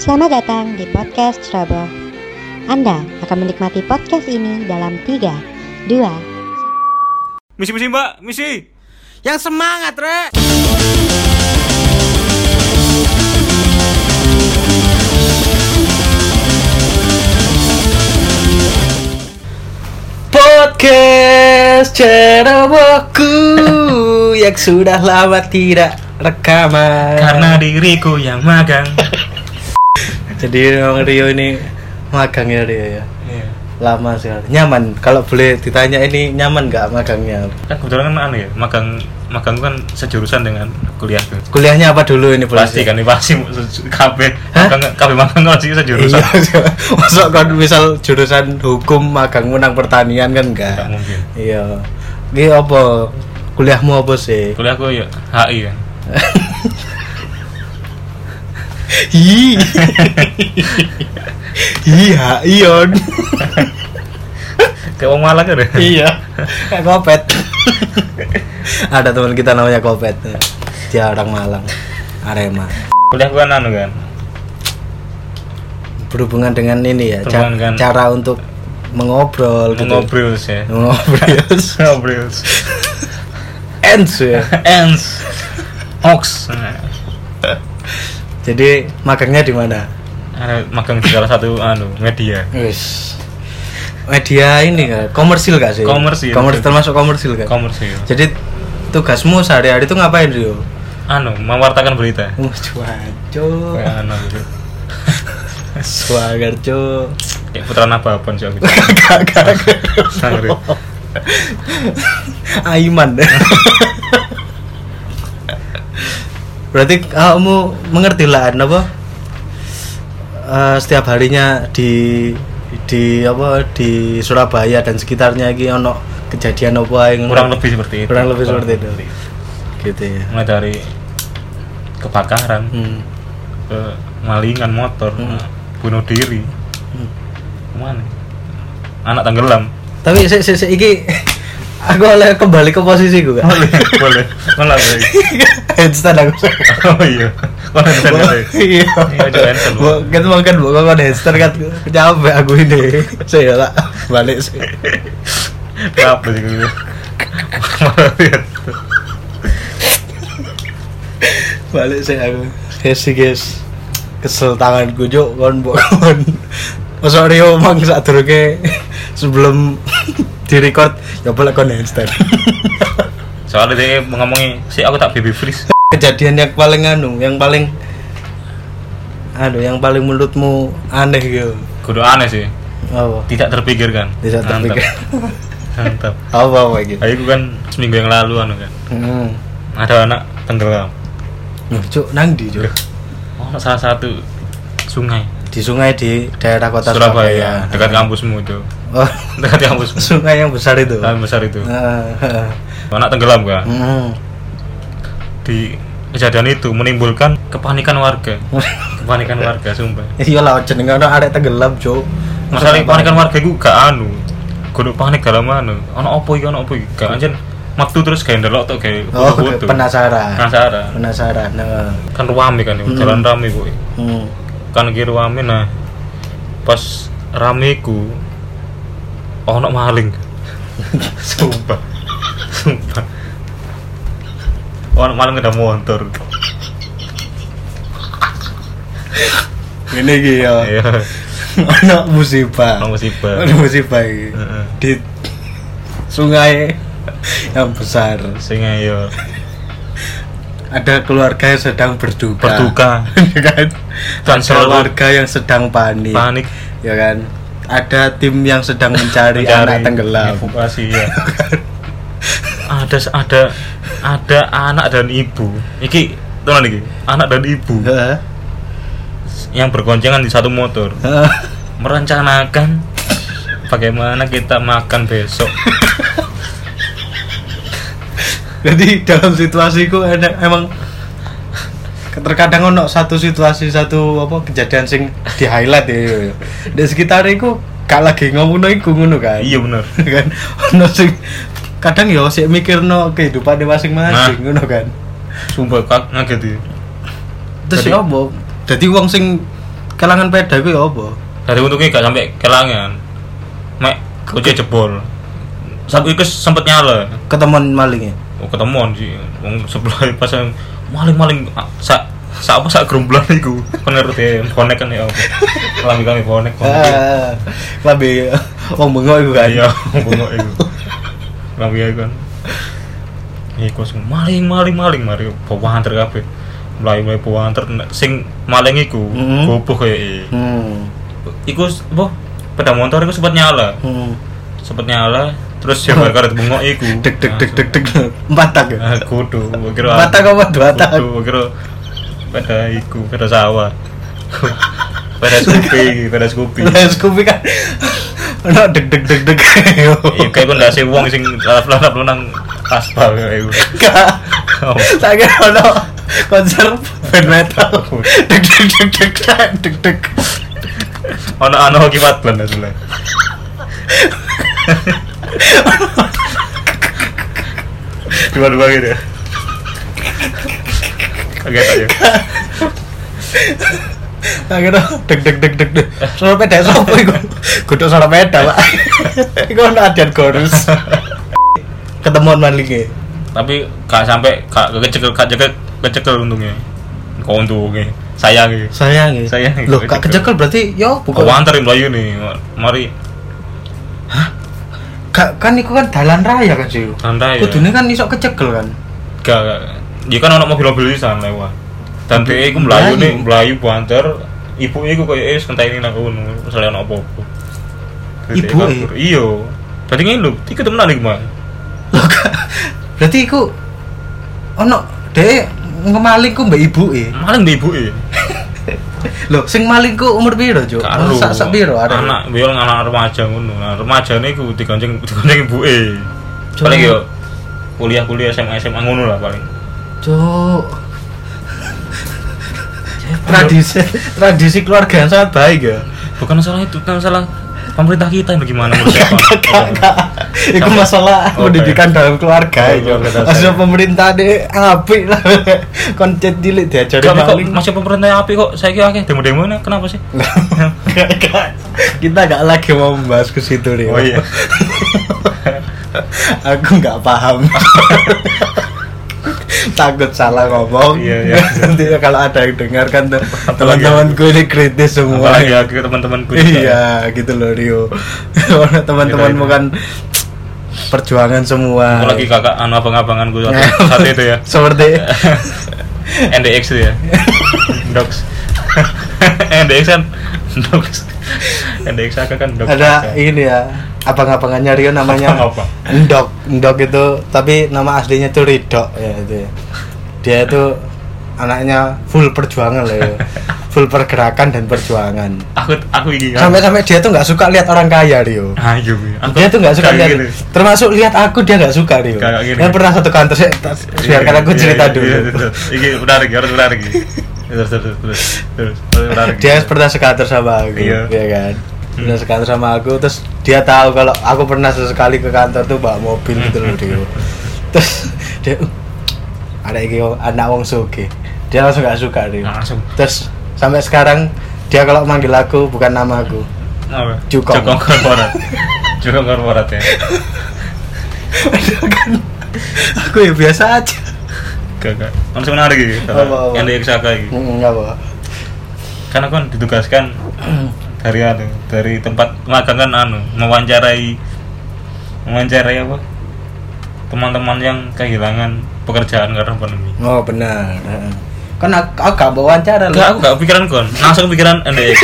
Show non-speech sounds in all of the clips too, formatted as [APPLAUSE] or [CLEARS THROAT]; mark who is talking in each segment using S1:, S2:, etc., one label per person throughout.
S1: Selamat datang di podcast Trouble. Anda akan menikmati podcast ini dalam 3, 2,
S2: Misi misi mbak, misi.
S3: Yang semangat, Rek. Podcast Ceroboku yang sudah lama tidak rekaman.
S2: Karena diriku yang [LAUGHS] magang.
S3: jadi Bang Rio ini magang ya Rio ya.
S2: Iya.
S3: Lama sekali. Nyaman. Kalau boleh ditanya ini nyaman nggak magangnya?
S2: kan kebetulan kan anu ya, magang magang kan sejurusan dengan kuliah.
S3: Kuliahnya apa dulu ini boleh
S2: Pasti kan ini pasti KB
S3: Hah?
S2: magang KB magang kan sih sejurusan.
S3: Iya, [LAUGHS] masuk kan misal jurusan hukum magang menang pertanian kan enggak.
S2: Nggak mungkin.
S3: Iya. Ki apa? Kuliahmu apa sih?
S2: Kuliahku ya HI kan. [LAUGHS]
S3: Hi. Iya, ion.
S2: Kayak wong Malang kan. ya?
S3: Iya. [LAUGHS] Kayak Kopet. Ada teman kita namanya Kopet. Dia orang Malang. Arema.
S2: Kuliahku kan anu kan.
S3: Berhubungan dengan ini ya, ca-
S2: Berhubungan dengan-
S3: cara untuk mengobrol gitu.
S2: Ngobrol ya.
S3: Mengobrol.
S2: Ngobrol.
S3: [LAUGHS] Ends ya.
S2: Ends. Ox. Nah,
S3: Jadi magangnya di mana?
S2: Ada magang di salah satu anu media.
S3: Wis. Media ini kan komersil gak sih?
S2: Komersil.
S3: Komersil termasuk komersil kan?
S2: Komersil.
S3: Jadi tugasmu sehari-hari itu ngapain Rio?
S2: Anu mewartakan berita.
S3: Oh, cuaco.
S2: Kayak anu gitu.
S3: Suagar cu.
S2: Kayak putra nababan sih aku.
S3: [LAUGHS] Kakak.
S2: Sangri.
S3: Aiman. Berarti kamu mengerti lah apa? Eh, setiap harinya di di apa di Surabaya dan sekitarnya iki ono kejadian apa yang
S2: kurang lebih seperti itu
S3: Kurang lebih seperti itu. gitu ya.
S2: mulai dari kebakaran
S3: Hmm.
S2: ke malingan motor
S3: Hmm.
S2: bunuh diri
S3: Hmm.
S2: kemana anak tenggelam
S3: Tapi se se, se iki [LAUGHS] aku oleh kembali ke posisi gue. [LAUGHS]
S2: boleh boleh malah boleh
S3: Handstand aku.
S2: oh iya kalau yang tadi boleh
S3: [LAUGHS] Iya.
S2: Iya, aja handstand.
S3: Bu, kan makan bu kan handstand kan capek aku
S2: [LAUGHS]
S3: ini. Saya lah balik sih.
S2: apa sih gitu malah lihat
S3: Balik sih aku. Yes guys. Kesel tanganku juk kon bu kon. Masa Rio mang sak durunge sebelum [LAUGHS] direcord ya balik kon handstand.
S2: soalnya dia mengomongi si aku tak baby freeze
S3: [LAUGHS] kejadian yang paling anu yang paling aduh yang paling menurutmu aneh gitu
S2: kudu aneh sih
S3: apa
S2: tidak terpikirkan
S3: tidak
S2: Mantap.
S3: terpikir
S2: mantap
S3: apa apa gitu
S2: aku kan seminggu yang lalu anu kan
S3: hmm.
S2: ada anak tenggelam
S3: Loh, cuk nang di cuk
S2: oh salah satu sungai
S3: di sungai di daerah kota
S2: Surabaya,
S3: Surabaya,
S2: dekat kampusmu itu [LAUGHS]
S3: oh, [LAUGHS]
S2: dekat kampusmu
S3: sungai yang besar itu Ah,
S2: Taman besar itu
S3: Nah. Heeh.
S2: anak tenggelam kan
S3: Heeh.
S2: [LAUGHS] di kejadian itu menimbulkan kepanikan warga kepanikan warga sumpah
S3: Eh, iyalah jenenge ono arek tenggelam cuk
S2: masalah kepanikan warga itu gak anu kudu panik dalam anu ono opo iki ono opo iki gak anjen metu terus gak ndelok tok kayak
S3: oh
S2: foto-foto Ah.
S3: penasaran
S2: penasaran
S3: penasaran heeh.
S2: kan rame kan
S3: Mm.
S2: jalan rame kok
S3: Hmm.
S2: kan kiri rame nah pas rame ku ono maling [LAUGHS] sumpah sumpah ono maling udah motor
S3: ini iki ya
S2: iya
S3: [LAUGHS] ono musibah
S2: ono musibah Eh.
S3: Aduh musibah ini.
S2: Heeh.
S3: Di sungai yang besar
S2: sing ayo
S3: ada keluarga yang sedang berduka.
S2: berduka
S3: [LAUGHS] Ya kan?
S2: Dan
S3: ada
S2: selalu-
S3: warga yang sedang panik.
S2: panik
S3: Ya kan? Ada tim yang sedang mencari, anak
S2: mencari
S3: tenggelam.
S2: evakuasi ya ada ada ada anak dan ibu iki teman iki anak dan ibu
S3: Heeh.
S2: yang bergoncengan di satu motor
S3: Heeh.
S2: merencanakan bagaimana kita makan besok
S3: Jadi dalam situasi itu ada emang terkadang ono satu situasi satu apa kejadian sing di highlight ya. Di sekitar itu gak lagi ngomong iku ngono
S2: [LAUGHS]
S3: kan.
S2: iya bener
S3: [LAUGHS] kan ono sing kadang ya sik mikirno kehidupan masing-masing
S2: Nah.
S3: ngono kan
S2: sumpah kak ngaget ya
S3: terus
S2: Jadi-
S3: ya apa dadi wong sing kalangan peda kuwi apa?
S2: dari untungnya gak sampai kelangan mek kunci jebol sampai itu sempet nyala
S3: Ketemuan malingnya.
S2: oh, ketemuan sih wong sebelah [LAUGHS] pas yang maling-maling ah, sak sak apa sak gerombolan iku kon ngerti konek kan ya apa lami kami konek konek
S3: Ah, Lambe wong bengok iku
S2: [LAUGHS]
S3: kan.
S2: iya bungok iku lami iku kan iku sing maling maling maling mari bawa antar kabeh mulai mulai bawa antar sing maling iku
S3: Mhm.
S2: gopoh kayak
S3: Hmm.
S2: iku apa pedang motor iku sempat nyala
S3: Hmm.
S2: sempet nyala terus ya gara-gara bengok
S3: [LAUGHS]
S2: iku
S3: Dek dek dek dek dek. Empat tak ya?
S2: Nah, kudu gua kira
S3: Empat tak apa dua tak?
S2: kudu gua kira pada iku pada sawah [LAUGHS] pada skupi pada skupi
S3: Lah Scoopy kan. Ono deg deg deg deg. Yo.
S2: iya kayak gua ndase wong sing lalap-lalap lu nang aspal kayak iku
S3: Gak. [LAUGHS]
S2: Oh.
S3: Tak kira ono konser band metal. Deg deg deg deg deg deg deg.
S2: ono ano ki wadlan asule dua-dua gitu ya kaget aja
S3: Tak kira deg deg deg deg deg. Suara peda sopo iku? Godok suara peda, Pak. Iku ono adian gorus. Ketemuan malinge.
S2: tapi gak sampai gak gak kecekel gak cekel kecekel untungnya kok untungnya sayang gitu
S3: Sayang ya.
S2: Sayang ya,
S3: Loh,
S2: kok
S3: kak
S2: dicekel.
S3: kecekel berarti yo
S2: kok
S3: bukan.
S2: antar yang melayu nih mari
S3: Kak kan iku kan dalan raya kan sih.
S2: Dalan raya.
S3: Kudune kan iso kecekel kan.
S2: gak gak. dia kan anak mobil-mobil di sana lewat dan dia aku melayu nih melayu ku antar ibu aku kayak eh sekentai ini aku nunggu misalnya anak apa-apa Iya.
S3: Ibu e?
S2: iyo tadi ngilup dia ketemu nalik mah
S3: Loh, Kak, berarti iku ono dhek ngemaling ku mbak ibuke.
S2: maling di ibu eh
S3: Lho, sing maling ku umur piro, Cuk?
S2: karo
S3: Sak sak piro arek?
S2: anak biar anak remaja ngono nah, remaja nih aku digonceng digonceng ibu eh
S3: Cuma-
S2: paling yo kuliah-kuliah SMA SMA ngono lah paling
S3: Cuk. tradisi tradisi keluarga yang sangat baik ya.
S2: bukan masalah itu kan masalah pemerintah kita ini gimana menurut
S3: [LAUGHS]
S2: saya
S3: Kak, kak. Iku
S2: Sampai-
S3: masalah
S2: Oh,
S3: pendidikan dalam
S2: Oh,
S3: keluarga ya.
S2: keluarga dasar.
S3: Asal pemerintah deh apik lah. Koncet cilik diajari
S2: Gak, kok
S3: maling.
S2: masih pemerintah api kok saya kira akeh demo-demo ini kenapa sih
S3: Kak, kak. Kita gak lagi mau membahas ke situ nih.
S2: oh iya
S3: Aku nggak paham. Takut salah ngomong.
S2: Iya, iya.
S3: Nanti kalau ada yang dengar kan tuh, teman-temanku ini kritis semua.
S2: apalagi ya. aku teman-temanku juga.
S3: Iya, gitu loh Rio. Orang teman-temanmu kan perjuangan semua.
S2: apalagi kakak anu abang-abanganku satu,
S3: Iya.
S2: satu itu ya [LAUGHS]
S3: Seperti
S2: NDX itu
S3: [LAUGHS]
S2: ya [LAUGHS] Dox NDX kan Dox NDX kakak kan Dox
S3: ada ini ya. Abang-abangannya Rio
S2: [LAUGHS]
S3: namanya
S2: Abang-abang.
S3: Endok. Endok itu tapi nama aslinya itu Ridok ya itu. ya. Dia itu anaknya full perjuangan
S2: [LAUGHS]
S3: loh. ya. Full pergerakan dan perjuangan.
S2: aku aku ini kan
S3: Sampai-sampai dia tuh nggak suka lihat orang kaya Rio.
S2: ayo aku
S3: dia tuh nggak suka
S2: kayak gitu.
S3: lihat
S2: gini.
S3: termasuk lihat aku dia nggak suka Rio
S2: Kayak gini.
S3: kan pernah satu kantor saya tak- biarkan aku
S2: Iya,
S3: cerita
S2: iya,
S3: dulu
S2: iya, iya, iya. Iki menarik, harus menarik. iki. Terus terus terus terus harus menarik.
S3: dia pernah sekantor sama aku
S2: Iya.
S3: ya kan pernah sekantor sama aku terus dia tahu kalau aku pernah sesekali ke kantor tuh bawa mobil gitu loh Rio
S2: Hmm.
S3: terus dia "Uh, ada iki wong- anak wong suge dia langsung nggak suka Rio
S2: langsung
S3: terus sampai sekarang dia kalau manggil aku bukan nama aku
S2: apa?
S3: Cukong.
S2: Cukong korporat. Cukong korporat ya.
S3: aku ya biasa aja
S2: Gak gak. Langsung menarik iki.
S3: Apa, apa?
S2: Yang di Eksaka iki.
S3: nggak apa
S2: Karena kan ditugaskan [CLEARS THROAT] dari anu, dari tempat magang kan anu mewawancarai mewawancarai apa? Teman-teman yang kehilangan pekerjaan karena pandemi.
S3: oh benar Heeh. kan aku, aku gak bawa wawancara loh.
S2: Enggak, aku gak pikiran kon. Langsung pikiran [LAUGHS] NDX.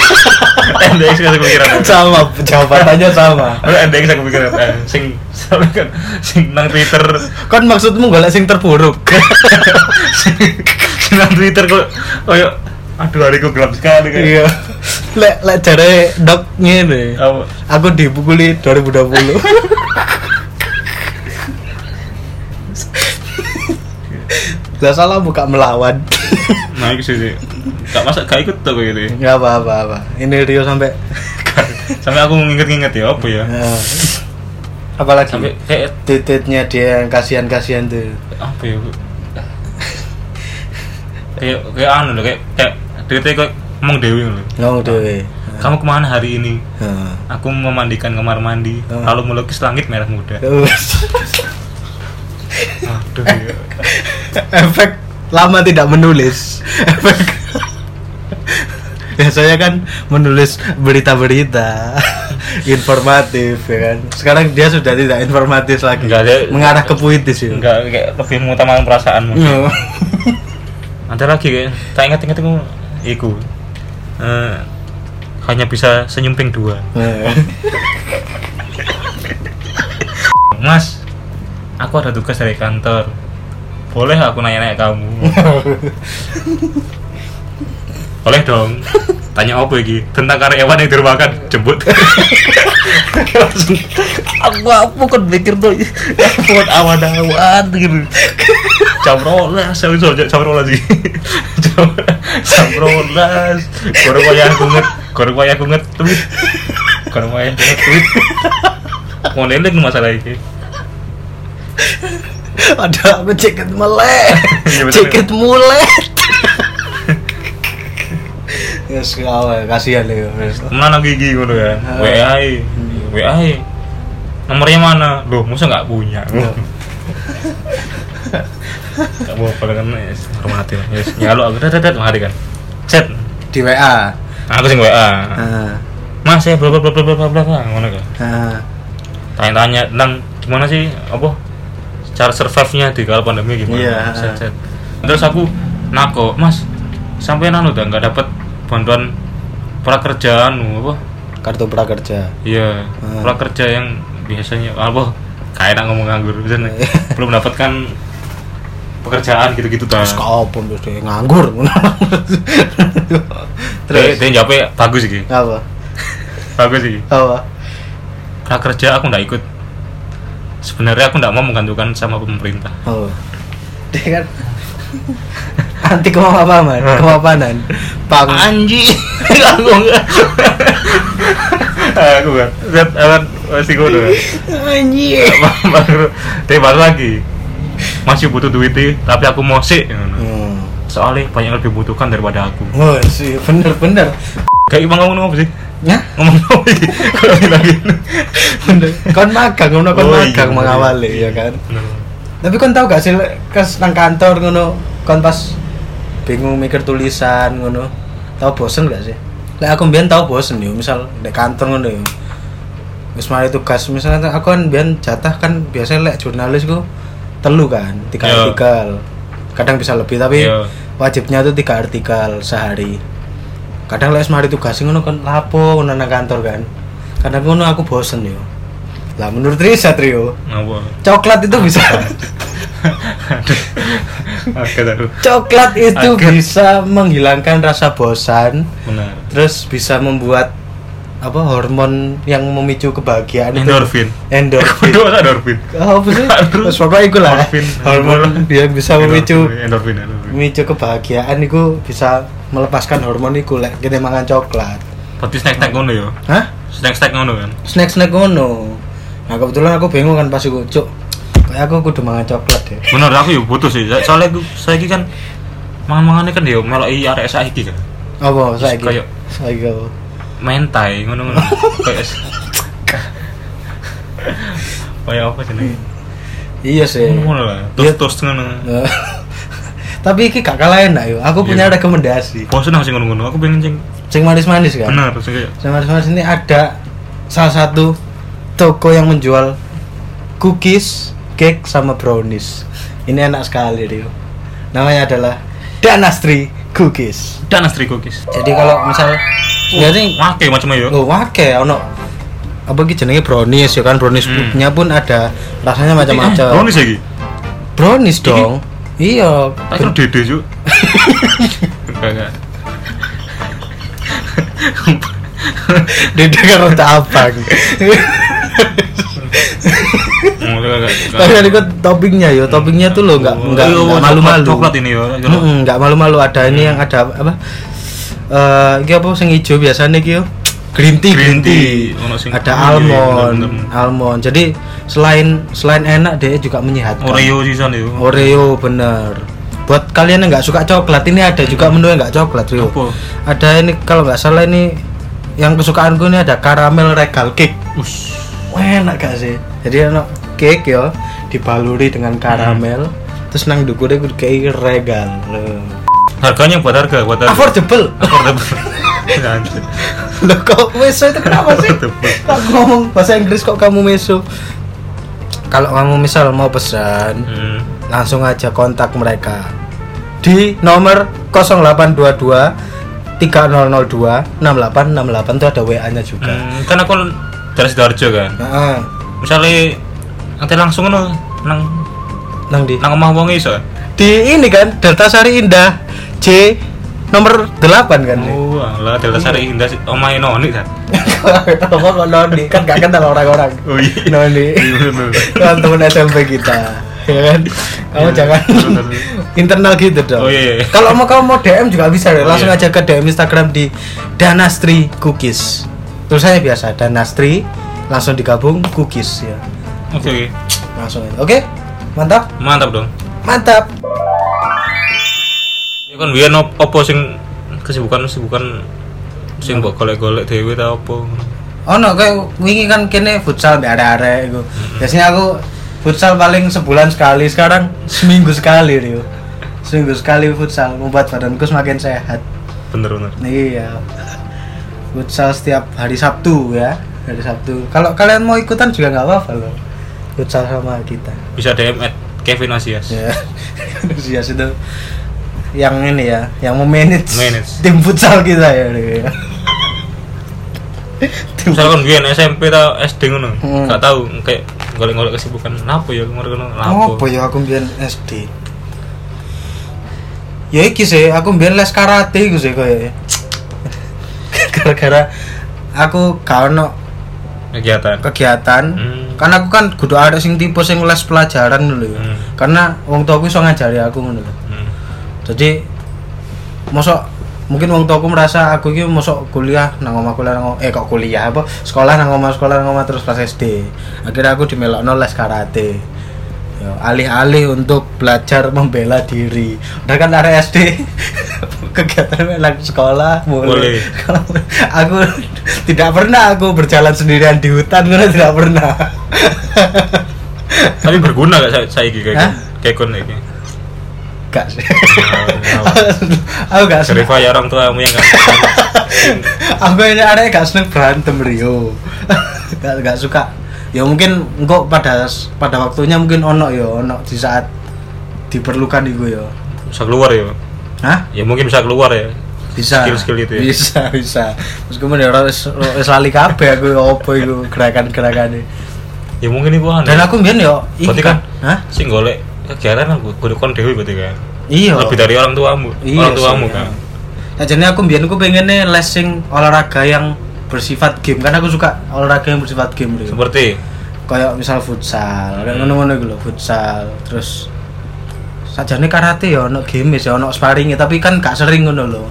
S2: NDX gak pikiran.
S3: [LAUGHS] sama jawabannya sama
S2: Aku NDX aku pikir eh, sing soalnya kan sing nang Twitter [LAUGHS]
S3: kan maksudmu golek sing terburuk
S2: sing nang Twitter kok koyo aduh hariku gelap sekali kayak.
S3: [LAUGHS] iya lek lek jare dok ngene
S2: Apa?
S3: aku dipukuli [LAUGHS] 2020 Gak salah buka melawan
S2: Nah, iku sih. sih. Gak masa gak ikut tuh kayak gitu. ya.
S3: Gak apa-apa apa. Ini Rio sampai
S2: Sampai aku nginget-nginget ya apa ya.
S3: eh, Apalagi
S2: Sampai kayak
S3: Titiknya dia yang kasihan-kasihan tuh
S2: apa ya? Bu? Kayak kayak anu loh kayak kayak tweetnya kayak ngomong dewi lho.
S3: ngomong dhewe.
S2: kamu kemana hari ini
S3: Heeh.
S2: aku memandikan kamar mandi
S3: Oh.
S2: lalu melukis langit merah muda
S3: [LAUGHS]
S2: aduh ya.
S3: Eh, efek lama tidak menulis efek [LAUGHS] biasanya kan menulis berita-berita informatif ya kan sekarang dia sudah tidak informatif lagi
S2: Enggak, dia-
S3: mengarah ke puitis ya [LAUGHS]
S2: enggak kayak lebih mengutamakan perasaan mungkin.
S3: Iya.
S2: ada lagi kayak tak ingat-ingat aku iku Eh, hanya bisa senyum ping dua mas aku ada tugas dari kantor boleh aku nanya-nanya [LAUGHS] kamu boleh dong tanya apa iki tentang karyawan yang dirumahkan jemput aku apa kan mikir tuh buat awan-awan gitu jam rolas jam rolas jam rolas sih jam jam rolas goreng wayang aku nget goreng wayang aku nget tweet goreng wayang aku nget tweet mau lelek masalah ini
S3: ada aku ceket melek
S2: [LAUGHS] Iya, betul.
S3: ceket mulet [LAUGHS] ya sekali kasihan ya wes.
S2: mana gigi gitu kan
S3: Ah.
S2: WA WA nomornya mana loh masa nggak punya nggak mau apa kan yes, hormati lah yes. nyalo aku tet tet hari kan chat
S3: di WA
S2: aku sing WA
S3: Ah,
S2: mas saya bla bla bla bla bla bla bla bla ngono kan
S3: ah.
S2: tanya-tanya tentang gimana sih apa cara survive nya di kala pandemi gimana
S3: Iya.
S2: Set, set. terus aku nako mas sampai nanu udah nggak dapat bantuan prakerjaan apa
S3: kartu prakerja
S2: Iya,
S3: Hmm.
S2: prakerja yang biasanya apa kayak enak ngomong nganggur misalnya belum mendapatkan pekerjaan gitu-gitu ta.
S3: terus kapan terus dia nganggur
S2: Terus
S3: [LAUGHS] terus
S2: dia jawabnya bagus iki.
S3: apa
S2: Bagus iki.
S3: apa
S2: Prakerja aku ndak ikut. Sebenarnya aku ndak mau menggantungkan kan, sama pemerintah.
S3: oh dia kan anti kemapanan kemapanan pang
S2: Anji. aku [LAUGHS] enggak. aku kan. Zat awan masih ya? kudu.
S3: anjir
S2: Baru dia baru lagi. Masih butuh duit Ti, tapi aku mau sih.
S3: hmm.
S2: Soalnya banyak yang lebih butuhkan daripada aku.
S3: oh sih bener bener
S2: Kayak emang ngomong apa sih?
S3: ya
S2: ngomong apa ini? Kalau bilangin.
S3: bener kon magang ngono kon
S2: Oh, iya,
S3: magang
S2: bener.
S3: mengawali ya kan tapi kon tau gak sih lek, kes nang kantor ngono kon pas bingung mikir tulisan ngono tau bosen gak sih lek aku mbiyen tau bosen yo misal di kantor ngono yo wis mari tugas misalnya aku kan mbiyen jatah kan biasanya lek jurnalis ku telu kan tiga
S2: Yo.
S3: artikel kadang bisa lebih tapi
S2: Yo.
S3: wajibnya itu tiga artikel sehari kadang lek semari tugas ngono kan lapo ngono nang kantor kan kadang ngono aku bosen yo lah menurut riset Rio
S2: Ngapa?
S3: coklat itu bisa
S2: Aduh. Agak aku.
S3: coklat itu
S2: Agak.
S3: bisa menghilangkan rasa bosan
S2: Benar.
S3: terus bisa membuat apa hormon yang memicu kebahagiaan itu.
S2: Endorfin.
S3: endorfin
S2: Kedua ada endorfin.
S3: oh apa sih
S2: Aduh.
S3: terus pokoknya itu lah
S2: Endorfin.
S3: [LAUGHS] hormon dia bisa memicu
S2: endorfin. endorfin.
S3: memicu kebahagiaan itu bisa melepaskan hormon itu lek kita mangan coklat
S2: Berarti snack-snack ngono ya.
S3: hah
S2: Snack-snack ngono kan.
S3: snack snack ngono nah kebetulan aku bingung kan pas aku cuk kayak aku kudu mangan coklat deh
S2: Benar aku ya butuh sih. Soalnya aku saiki kan mangan-mangane kan ya meloki arek saiki kan.
S3: apa saya gitu
S2: Kayak-
S3: saya gitu
S2: Mentai
S3: [LAUGHS]
S2: ngono-ngono. Kayak Kayak apa jenenge?
S3: iya sih
S2: Ngono lah. Toast-toast ngono.
S3: Eh, tapi iki gak kalah enak yo aku punya
S2: Iya.
S3: rekomendasi
S2: Bosan aku sing ngono-ngono. Aku pengen sing
S3: sing manis-manis kan
S2: benar sing kayak
S3: sing manis-manis ini ada salah satu toko yang menjual cookies cake sama brownies ini enak sekali Rio namanya adalah Danastri Cookies
S2: dan astri cookies.
S3: jadi kalau misal ya sih
S2: Wah, kayak macam ya.
S3: Oh, wake ono apa ki jenenge brownies ya kan brownies
S2: Hmm.
S3: nya pun ada rasanya macam-macam.
S2: Brownies lagi.
S3: Brownies dong. Iya.
S2: Tak kira dede yuk. Enggak enggak.
S3: Dede karo tak abang.
S2: Enggak enggak.
S3: Tapi ada ikut toppingnya yo, toppingnya tuh lo nggak nggak
S2: Kan. Iya,
S3: nggak
S2: coklat-
S3: malu-malu.
S2: Coklat Hmm. ini ya.
S3: Mm, mm, Nggak malu-malu ada ini yang ada apa? Eh, iki apa sing ijo biasanya iki yo? Green tea,
S2: Green
S3: green tea.
S2: tea. Ono sing-
S3: Ada
S2: iya, iya,
S3: almond,
S2: bener-bener.
S3: almond. Jadi selain selain enak dia juga menyehatkan.
S2: Oreo sisan ya.
S3: Oreo bener. buat kalian yang nggak suka coklat ini ada juga
S2: Hmm.
S3: menu yang nggak coklat Rio
S4: Apa?
S3: ada ini kalau nggak salah ini yang kesukaanku ini ada karamel regal cake
S4: Ush.
S3: Wah, enak gak sih jadi enak cake ya dibaluri dengan karamel
S2: Hmm.
S3: terus nang dukure kudu kei regal Loh.
S2: Harganya buat harga, buat harga.
S3: affordable
S2: [LAUGHS] Affordable. Anjir.
S3: Loh kok meso itu kenapa sih?
S2: Affordable.
S3: Kok ngomong bahasa Inggris kok kamu meso? Kalau kamu misal mau pesan,
S2: Hmm.
S3: langsung aja kontak mereka di nomor 0822 3002 6868 itu ada WA-nya juga.
S2: Hmm, kan aku dari Sidoarjo kan.
S3: Nah,
S2: Misalnya nanti langsung ngono nang
S3: nang di
S2: nang omah wong iso.
S3: di ini kan Delta Sari Indah C nomor 8 kan. [LAUGHS] Oh.
S2: Oh, lah Delta Sari Indah sih, omahe Noni kan.
S3: Kok kok Noni kan gak kenal orang-orang.
S2: Oh iya.
S3: Noni.
S2: Iya, bener.
S3: Kan temen SMP kita. Ya kan?
S2: Iya,
S3: Kamu jangan
S2: bener.
S3: [LAUGHS] internal gitu
S2: Oh
S3: dong.
S2: iya. iya.
S3: Kalau mau kamu mau DM juga bisa deh.
S2: Oh,
S3: Langsung
S2: iya.
S3: aja ke DM Instagram di Danastri Cookies. Tulisannya biasa Danastri langsung digabung cookies ya.
S2: Oke, oke.
S3: Langsung aja. Oke? Mantap?
S2: Mantap dong.
S3: Mantap.
S2: Ya kan biyen op- opo sing kesibukan-kesibukan sing mbok golek-golek dhewe ta opo.
S3: Oh no, kayak wingi kan kene futsal mbak arek-arek iku. Biasanya aku futsal paling sebulan sekali, sekarang seminggu sekali Rio. Seminggu sekali futsal membuat badanku semakin sehat.
S2: Bener bener.
S3: Iya. Futsal setiap hari Sabtu ya, hari Sabtu. Kalau kalian mau ikutan juga nggak apa-apa loh. Futsal sama kita.
S2: Bisa DM at Kevin Asias.
S3: Ya. [LAUGHS] Antusias itu yang ini ya, yang memanage
S2: Manage.
S3: tim futsal kita ya. Rio, ya. tim
S2: Misal kan biyen SMP ta SD ngono,
S3: Hmm.
S2: gak tau kayak golek-golek kesibukan napa ya ngono
S3: Oh,
S2: napa.
S3: apa ya aku mbiyen SD. Ya iki sih, aku mbiyen les karate iku sih koyo. [LAUGHS] Gara-gara aku gak ono
S2: Kegiatan.
S3: kegiatan
S2: Hmm.
S3: karena aku kan kudu ada sing tipe sing les pelajaran dulu ya.
S2: Hmm.
S3: Karena wong tuaku iso ngajari aku ngono lho.
S2: Hmm.
S3: Jadi mosok mungkin wong tuaku merasa aku iki mosok kuliah nang omah kuliah nang eh kok kuliah apa sekolah nang omah sekolah nang omah terus pas SD. Akhirnya aku dimelokno les karate. Ya, alih-alih untuk belajar membela diri. Udah kan area SD [LAUGHS] kegiatan lagi sekolah
S2: Boleh.
S3: boleh. [LAUGHS] aku tidak pernah aku berjalan sendirian di hutan karena tidak pernah.
S2: Tapi berguna gak saya saiki
S3: Hah?
S2: kayak kayak kon iki.
S3: Gak sih. [LAUGHS]
S2: Nah,
S3: aku gak seneng.
S2: Cerita ya orang tuamu yang gak
S3: aku ini anaknya gak seneng berantem Rio [LAUGHS] gak, gak suka ya mungkin engkau pada pada waktunya mungkin ono yo ono di saat diperlukan iku yo
S2: bisa keluar ya.
S3: Hah?
S2: Ya mungkin bisa keluar ya.
S3: bisa
S2: Skill-skill itu ya?
S3: bisa bisa meskipun ya wis wis lali kabeh aku ya opo iku gerakan-gerakane
S2: Ya mungkin iku aneh.
S3: dan aku mbiyen yo iki
S2: Berarti kan?
S3: hah
S2: sing golek kegiatan aku kudu kon dhewe berarti kan.
S3: iya
S2: Lebih dari orang tuamu.
S3: Iya
S2: orang
S3: sih,
S2: tuamu
S3: iya.
S2: kan.
S3: Nah, jadi aku mbiyen aku pengen nih les sing olahraga yang bersifat game karena aku suka olahraga yang bersifat game Rio.
S2: Seperti
S3: kayak misal
S2: Hmm.
S3: futsal kayak ngono-ngono gitu loh futsal terus sajane karate ya ono game ya ono sparring tapi kan gak sering ngono loh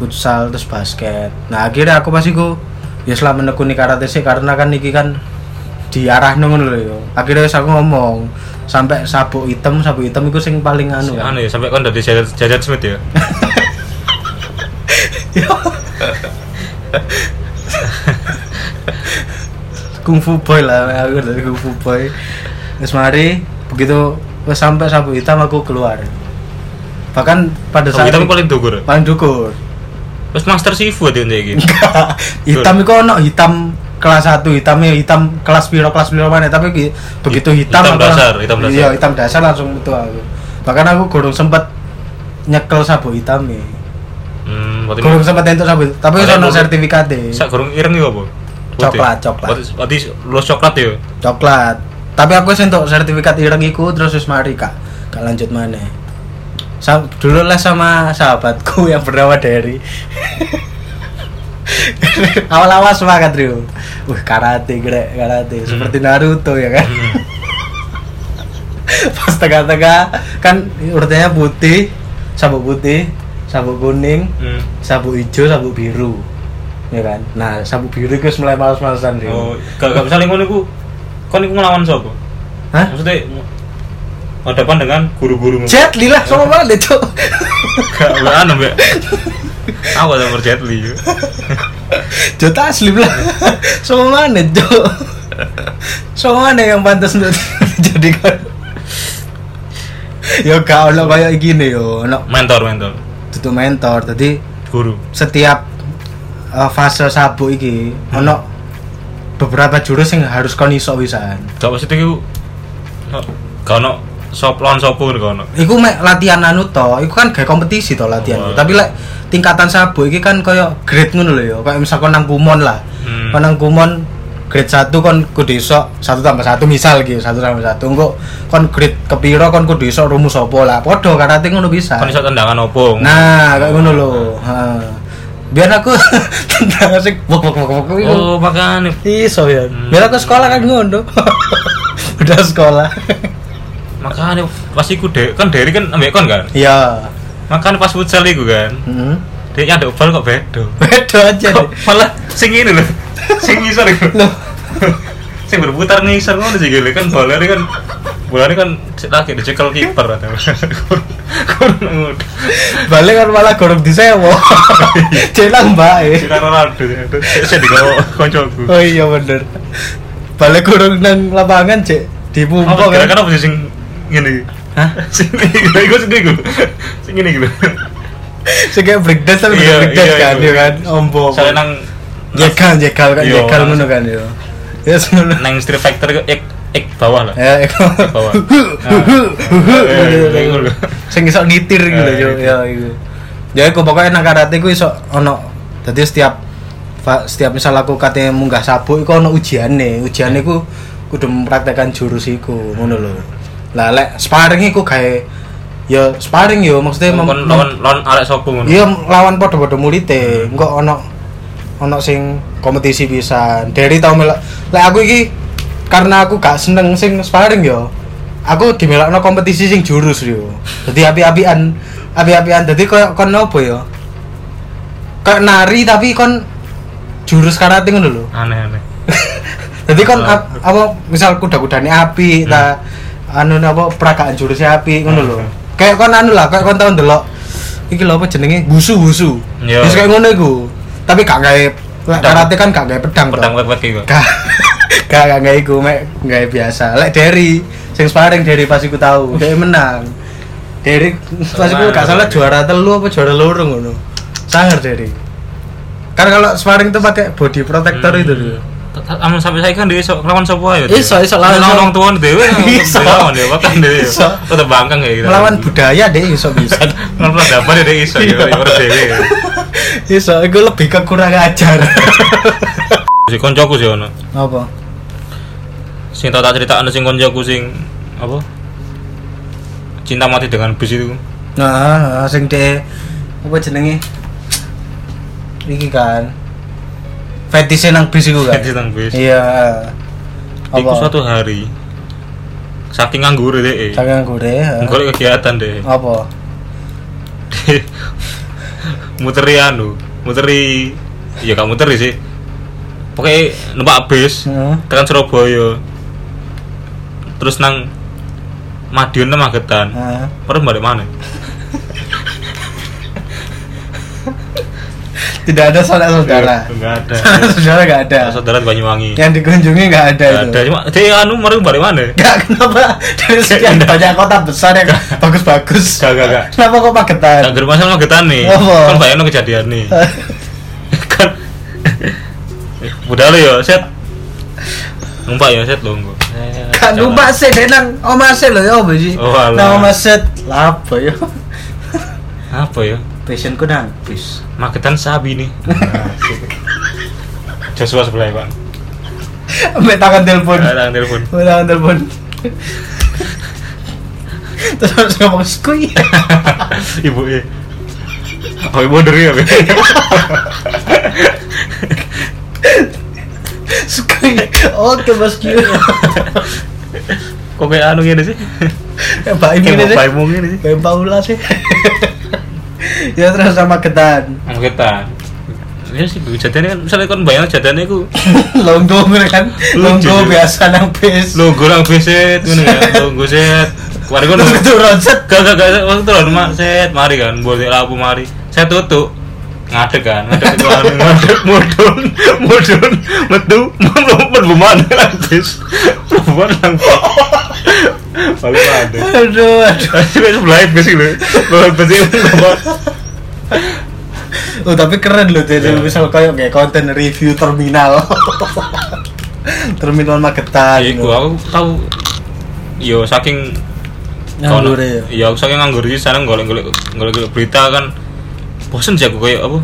S3: futsal terus basket nah akhirnya aku pasti ku ya selama menekuni karate sih karena kan iki kan diarah ngono loh yo akhirnya wis aku ngomong sampai sabuk hitam sabuk hitam itu sing paling anu kan
S2: anu ya sampai kon dari jajan jajan Smith ya.
S3: kungfu boy lah aku dari kungfu boy terus mari begitu wis sampai sabuk hitam aku keluar bahkan pada
S2: Tapi
S3: saat
S2: kita paling dukur.
S3: paling dukur
S2: Terus Master Sifu dia ndek iki.
S3: Iya. [LAUGHS] hitam itu ono hitam kelas 1 hitamnya hitam kelas piro kelas piro mana tapi ki- begitu hitam,
S2: Hitam
S3: aku lang-
S2: dasar, hitam dasar.
S3: iya hitam dasar langsung itu aku bahkan aku gorong sempet nyekel sabu hitam ya
S2: Hmm, berarti
S3: gorong sempet entuk sabu hitam. tapi
S2: Padahal
S3: ono
S2: gorong-
S3: sertifikatnya
S2: sak gorong ireng iku apa? Putih.
S3: Coklat, coklat.
S2: Berarti- Berarti lu coklat ya.
S3: coklat tapi aku sih untuk sertifikat ireng iku terus wis mari kak kak lanjut mana Sa dulu lah sama sahabatku [LAUGHS] yang bernama Derry awal-awal semangat Rio wah karate grek karate seperti Naruto ya kan
S2: Hmm,
S3: [LAUGHS] pas tengah-tengah kan urutannya putih sabuk putih sabuk kuning
S2: Hmm.
S3: sabuk hijau sabuk biru ya kan nah sabuk biru itu mulai males-malesan Rio
S2: Oh, gak gak misalnya ngono iku kon iku nglawan sapa?
S3: Hah?
S2: Maksudnya hadapan dengan guru-guru
S3: Jet Li lah sama banget deh cok
S2: gak anu mbak aku ada Jet Li yuk.
S3: Jot asli lah [LAUGHS] sama mana cok sama mana yang pantas untuk [LAUGHS] dijadikan yo gak ono kayak gini yo ono
S2: mentor mentor
S3: tutup mentor tadi
S2: guru
S3: setiap eh, fase sabuk iki ono beberapa jurus yang harus kon iso wisan
S2: gak pasti itu gak ono sop lawan sopo gak ono
S3: Iku mek latihan anu to, iku kan kayak kompetisi to latihan.
S2: Oh.
S3: Tapi lek tingkatan sabuk iki kan koyo grade ngono lho ya. Kayak misal kon nang kumon lah.
S2: Hmm.
S3: Kon Kan nang kumon grade 1 kon kudu iso 1 tambah 1 misal gitu, 1 tambah 1. Engko kon grade kepiro kon kudu iso rumus apa lah. Padha karate ngono bisa.
S2: kan iso tendangan opo
S3: Nah, kayak ngono lho. Ha. Biar aku [LAUGHS] tentang asik wok wok wok wok. iku.
S2: oh makanya
S3: Iso ya.
S2: Hmm.
S3: Biar aku sekolah kan ngono. [LAUGHS] Udah
S2: [LAUGHS]
S3: sekolah.
S2: makanya pasti ku de kan dari kan ambek kon kan
S3: Iya.
S2: makanya pas futsal iku kan
S3: Heeh.
S2: dia nyaduk bal kok bedo
S3: Hmm. Beda aja
S2: kok
S3: deh.
S2: [LAUGHS] malah sing ini lho sing ngisor iku
S3: Loh,
S2: [LAUGHS] sing berputar ngisor ngono sih gile kan bolanya kan bolanya kan lagi dicekel kiper [LAUGHS] atau kurang
S3: balik kan malah gorong
S2: [LAUGHS]
S3: disewa. [LAUGHS] Celang bae.
S2: kita Ronaldo ya saya digawa koncoku
S3: Oh iya bener. Balik gorong nang lapangan cek
S2: apa
S3: dipumpo
S2: kira-kira
S3: kan.
S2: apa sih sing ngene iki?
S3: Hah?
S2: [LAUGHS] sing ini gue sendiri gue sing ini gue
S3: Sing kayak breakdance tapi bukan breakdance kan yo kan. Ombo.
S2: soalnya nang
S3: Jekal jekal kan
S2: Iya,
S3: jekal ngono
S2: langsung.
S3: kan yo. Ya ngono.
S2: nang Street Fighter iku ek ek bawah lah
S3: Ya, eko. [LAUGHS]
S2: bawah. Ah, iya, iya, iya.
S3: Sing iso ngitir gitu
S2: Iya,
S3: yo.
S2: Ah, iya.
S3: Ya iku. Ya iku pokoknya nang karate ku iso ono. Dadi setiap fa- setiap misal aku katanya munggah sabuk iku ono ujiane. Ujiane ku kudu mempraktekkan jurus iku ngono lho. Lah lek sparring iku gawe ya sparring yo maksudnya mem-
S2: lawan lawan lawan arek sopo ngono
S3: Iya lawan padha-padha mulite, engko ono ono sing kompetisi pisan. Dari tau melok. Lek aku iki karena aku gak seneng sing sparring yo. Aku dimelokno kompetisi sing jurus yo. Dadi api-apian, api-apian. Dadi koyo kon opo yo? Kayak nari tapi kon jurus karate ngono lho.
S2: aneh aneh
S3: Jadi kon
S2: Ah.
S3: ap- apa misal kuda-kudane api ta anu apa peragaan jurusnya api ngono lho.
S2: Hmm.
S3: Kayak kon anu lah, kayak kon tau ndelok iki lho apa jenenge gusu-gusu.
S2: Iya.
S3: Wis kayak ngono iku. Tapi gak gawe lek
S2: Pedang.
S3: karate kan gak gawe pedang to.
S2: pedang wet-wet iki
S3: Gak [LAUGHS] gak gak gawe iku mek gawe biasa. Lek Derry sing sparring Derry pas iku tau, dia menang. Derry pas iku gak salah juara telu apa juara loro ngono. Sangar Derry. Kan kalau sparring tuh pakai body protector
S2: Hmm.
S3: itu lho.
S2: Amun sampai saya kan dia iso lawan sopo ayo.
S3: Iso, iso lawan
S2: lawan
S3: sopo.
S2: orang tuan dhewe.
S3: [LAUGHS] Iso.
S2: Lawan dhewe kan dhewe.
S3: Iso.
S2: Udah bangkang kayak gitu.
S3: melawan budaya deh iso
S2: [LAUGHS]
S3: bisa
S2: Lawan peradaban ya dia iso ya
S3: Iya.
S2: ora dhewe.
S3: iso gue lebih ke kurang ajar
S2: Si koncoku sih ono.
S3: apa
S2: Sing tau tak critakno sing koncoku sing apa? Cinta mati dengan bis itu.
S3: nah sing de apa jenenge iki kan fetishnya nang bis iku kan
S2: Cinta dengan bis.
S3: iya
S2: Iku suatu hari saking nganggur deh.
S3: saking gure ah.
S2: Golek kegiatan deh.
S3: apa
S2: muteri anu, muteri ya gak muteri sih. Pokoknya numpak bis
S3: Heeh.
S2: tekan Surabaya. Terus nang Madiun nang Magetan.
S3: Heeh.
S2: Terus balik mana?
S3: tidak ada
S2: Iya.
S3: sanak saudara [LAUGHS]
S2: [LAUGHS] Enggak ada.
S3: sanak saudara gak ada
S2: Saudara di Banyuwangi.
S3: yang dikunjungi gak
S2: Enggak
S3: ada itu
S2: ada. Cuma dia anu mari balik mana?
S3: Gak
S2: [LAUGHS]
S3: kenapa dari sekian
S2: Enggak.
S3: banyak kota besar yang bagus-bagus.
S2: Gak, gak, gak.
S3: Kenapa kok Magetan?
S2: Enggak masalah Magetan nih.
S3: Apa?
S2: Kan bayangno kejadian nih. kan budal ya, set. Numpak ya, set lho. engko.
S3: Kan numpak sih deh nang omase lho ya apa sih?
S2: Oh, alah.
S3: Nang omase lah apa ya?
S2: Apa ya?
S3: Passionku nang [LAUGHS] bis.
S2: Magetan sabi nih. Joshua sebelah ya, Pak.
S3: Ambek tangan telepon.
S2: Ada yang telepon.
S3: Ambek tangan telepon. Terus harus ngomong skui.
S2: [LAUGHS] Ibu ya. Oh, ibu dari ya. Be?
S3: Skui. Oh, Oke, Mas Kyu.
S2: [LAUGHS] Kok kayak anu gini sih?
S3: Eh, Mbak Ibu
S2: Kayak
S3: ini.
S2: bapak ibu gini sih.
S3: Mbak Paula sih. Ya terus sama ketan.
S2: Magetan. Ya sih, Bu. jadinya kan misalnya kan bayang jadinya aku
S3: Longgo kan.
S2: Lucu
S3: Longgo
S2: juga.
S3: biasa nang bis.
S2: lo gorang beset ngono ya, lo goset. mari kono
S3: Terus ketu roncet.
S2: gak gak gak waktu itu rumah set mari kan boleh labu mari saya tutup ngadek kan ngadek itu anu, ngadek mudun mudun metu metu perbuman lantis perbuman langsung paling ada
S3: Aduh, aduh.
S2: tapi sebelah ibis gitu sebelah ibis itu apa
S3: Oh, tapi keren loh jadi
S2: Iya.
S3: misal kayak kayak konten review terminal. terminal Magetan.
S2: iku
S3: loh.
S2: Iya, aku tahu yo saking kono-
S3: Nganggur ya.
S2: iya aku saking nganggur di sana golek-golek golek-golek berita kan bosen sih aku kayak apa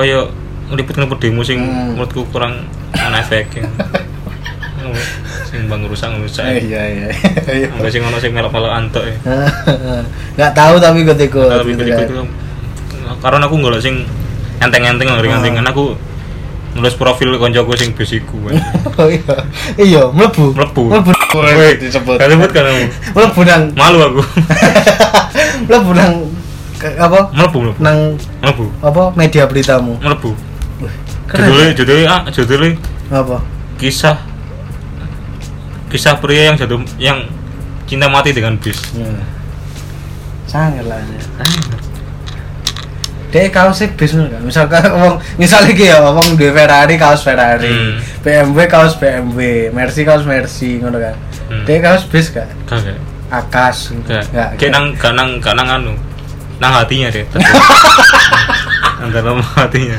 S2: kayak ngeliput-ngeliput demo sing
S3: Hmm.
S2: menurutku kurang ana
S3: [LAUGHS]
S2: efeknya sing bang rusak rusak
S3: Eh, Iya iya. iya. [LAUGHS]
S2: enggak sing ono sing melok-melok antuk ya
S3: Nggak tahu tapi ikut ikut.
S2: Kalau mikir ikut-ikut, karena aku golek sing enteng-enteng ringan-ringan aku nulis profil koncoku sing besiku
S3: [LAUGHS]
S2: kan.
S3: [LAUGHS] Oh iya. Iya, mlebu.
S2: Mlebu.
S3: Mlebu.
S2: Woi,
S3: disebut.
S2: gak sebut kan kamu?
S3: Mlebu nang
S2: malu aku [LAUGHS]
S3: mlebu nang ke- apa?
S2: melebu melebu
S3: Nang
S2: melebu
S3: apa media beritamu?
S2: melebu
S3: Keren.
S2: judulnya judulnya ah judulnya
S3: Apa?
S2: kisah kisah pria yang jatuh yang cinta mati dengan bis
S3: Hmm. Sangat lah. ya. Dek kaos sik bis ngono kan. Misalkan wong misal iki ya wong duwe Ferrari kaos Ferrari,
S2: Hmm.
S3: BMW kaos BMW, Mercy kaos Mercy ngono kan.
S2: Hmm.
S3: Dek kaos bis gak?
S2: kagak
S3: Akas.
S2: kagak
S3: Nggak,
S2: kayak
S3: nggak.
S2: nang gak nang gak nang anu nang hatinya deh antara hatinya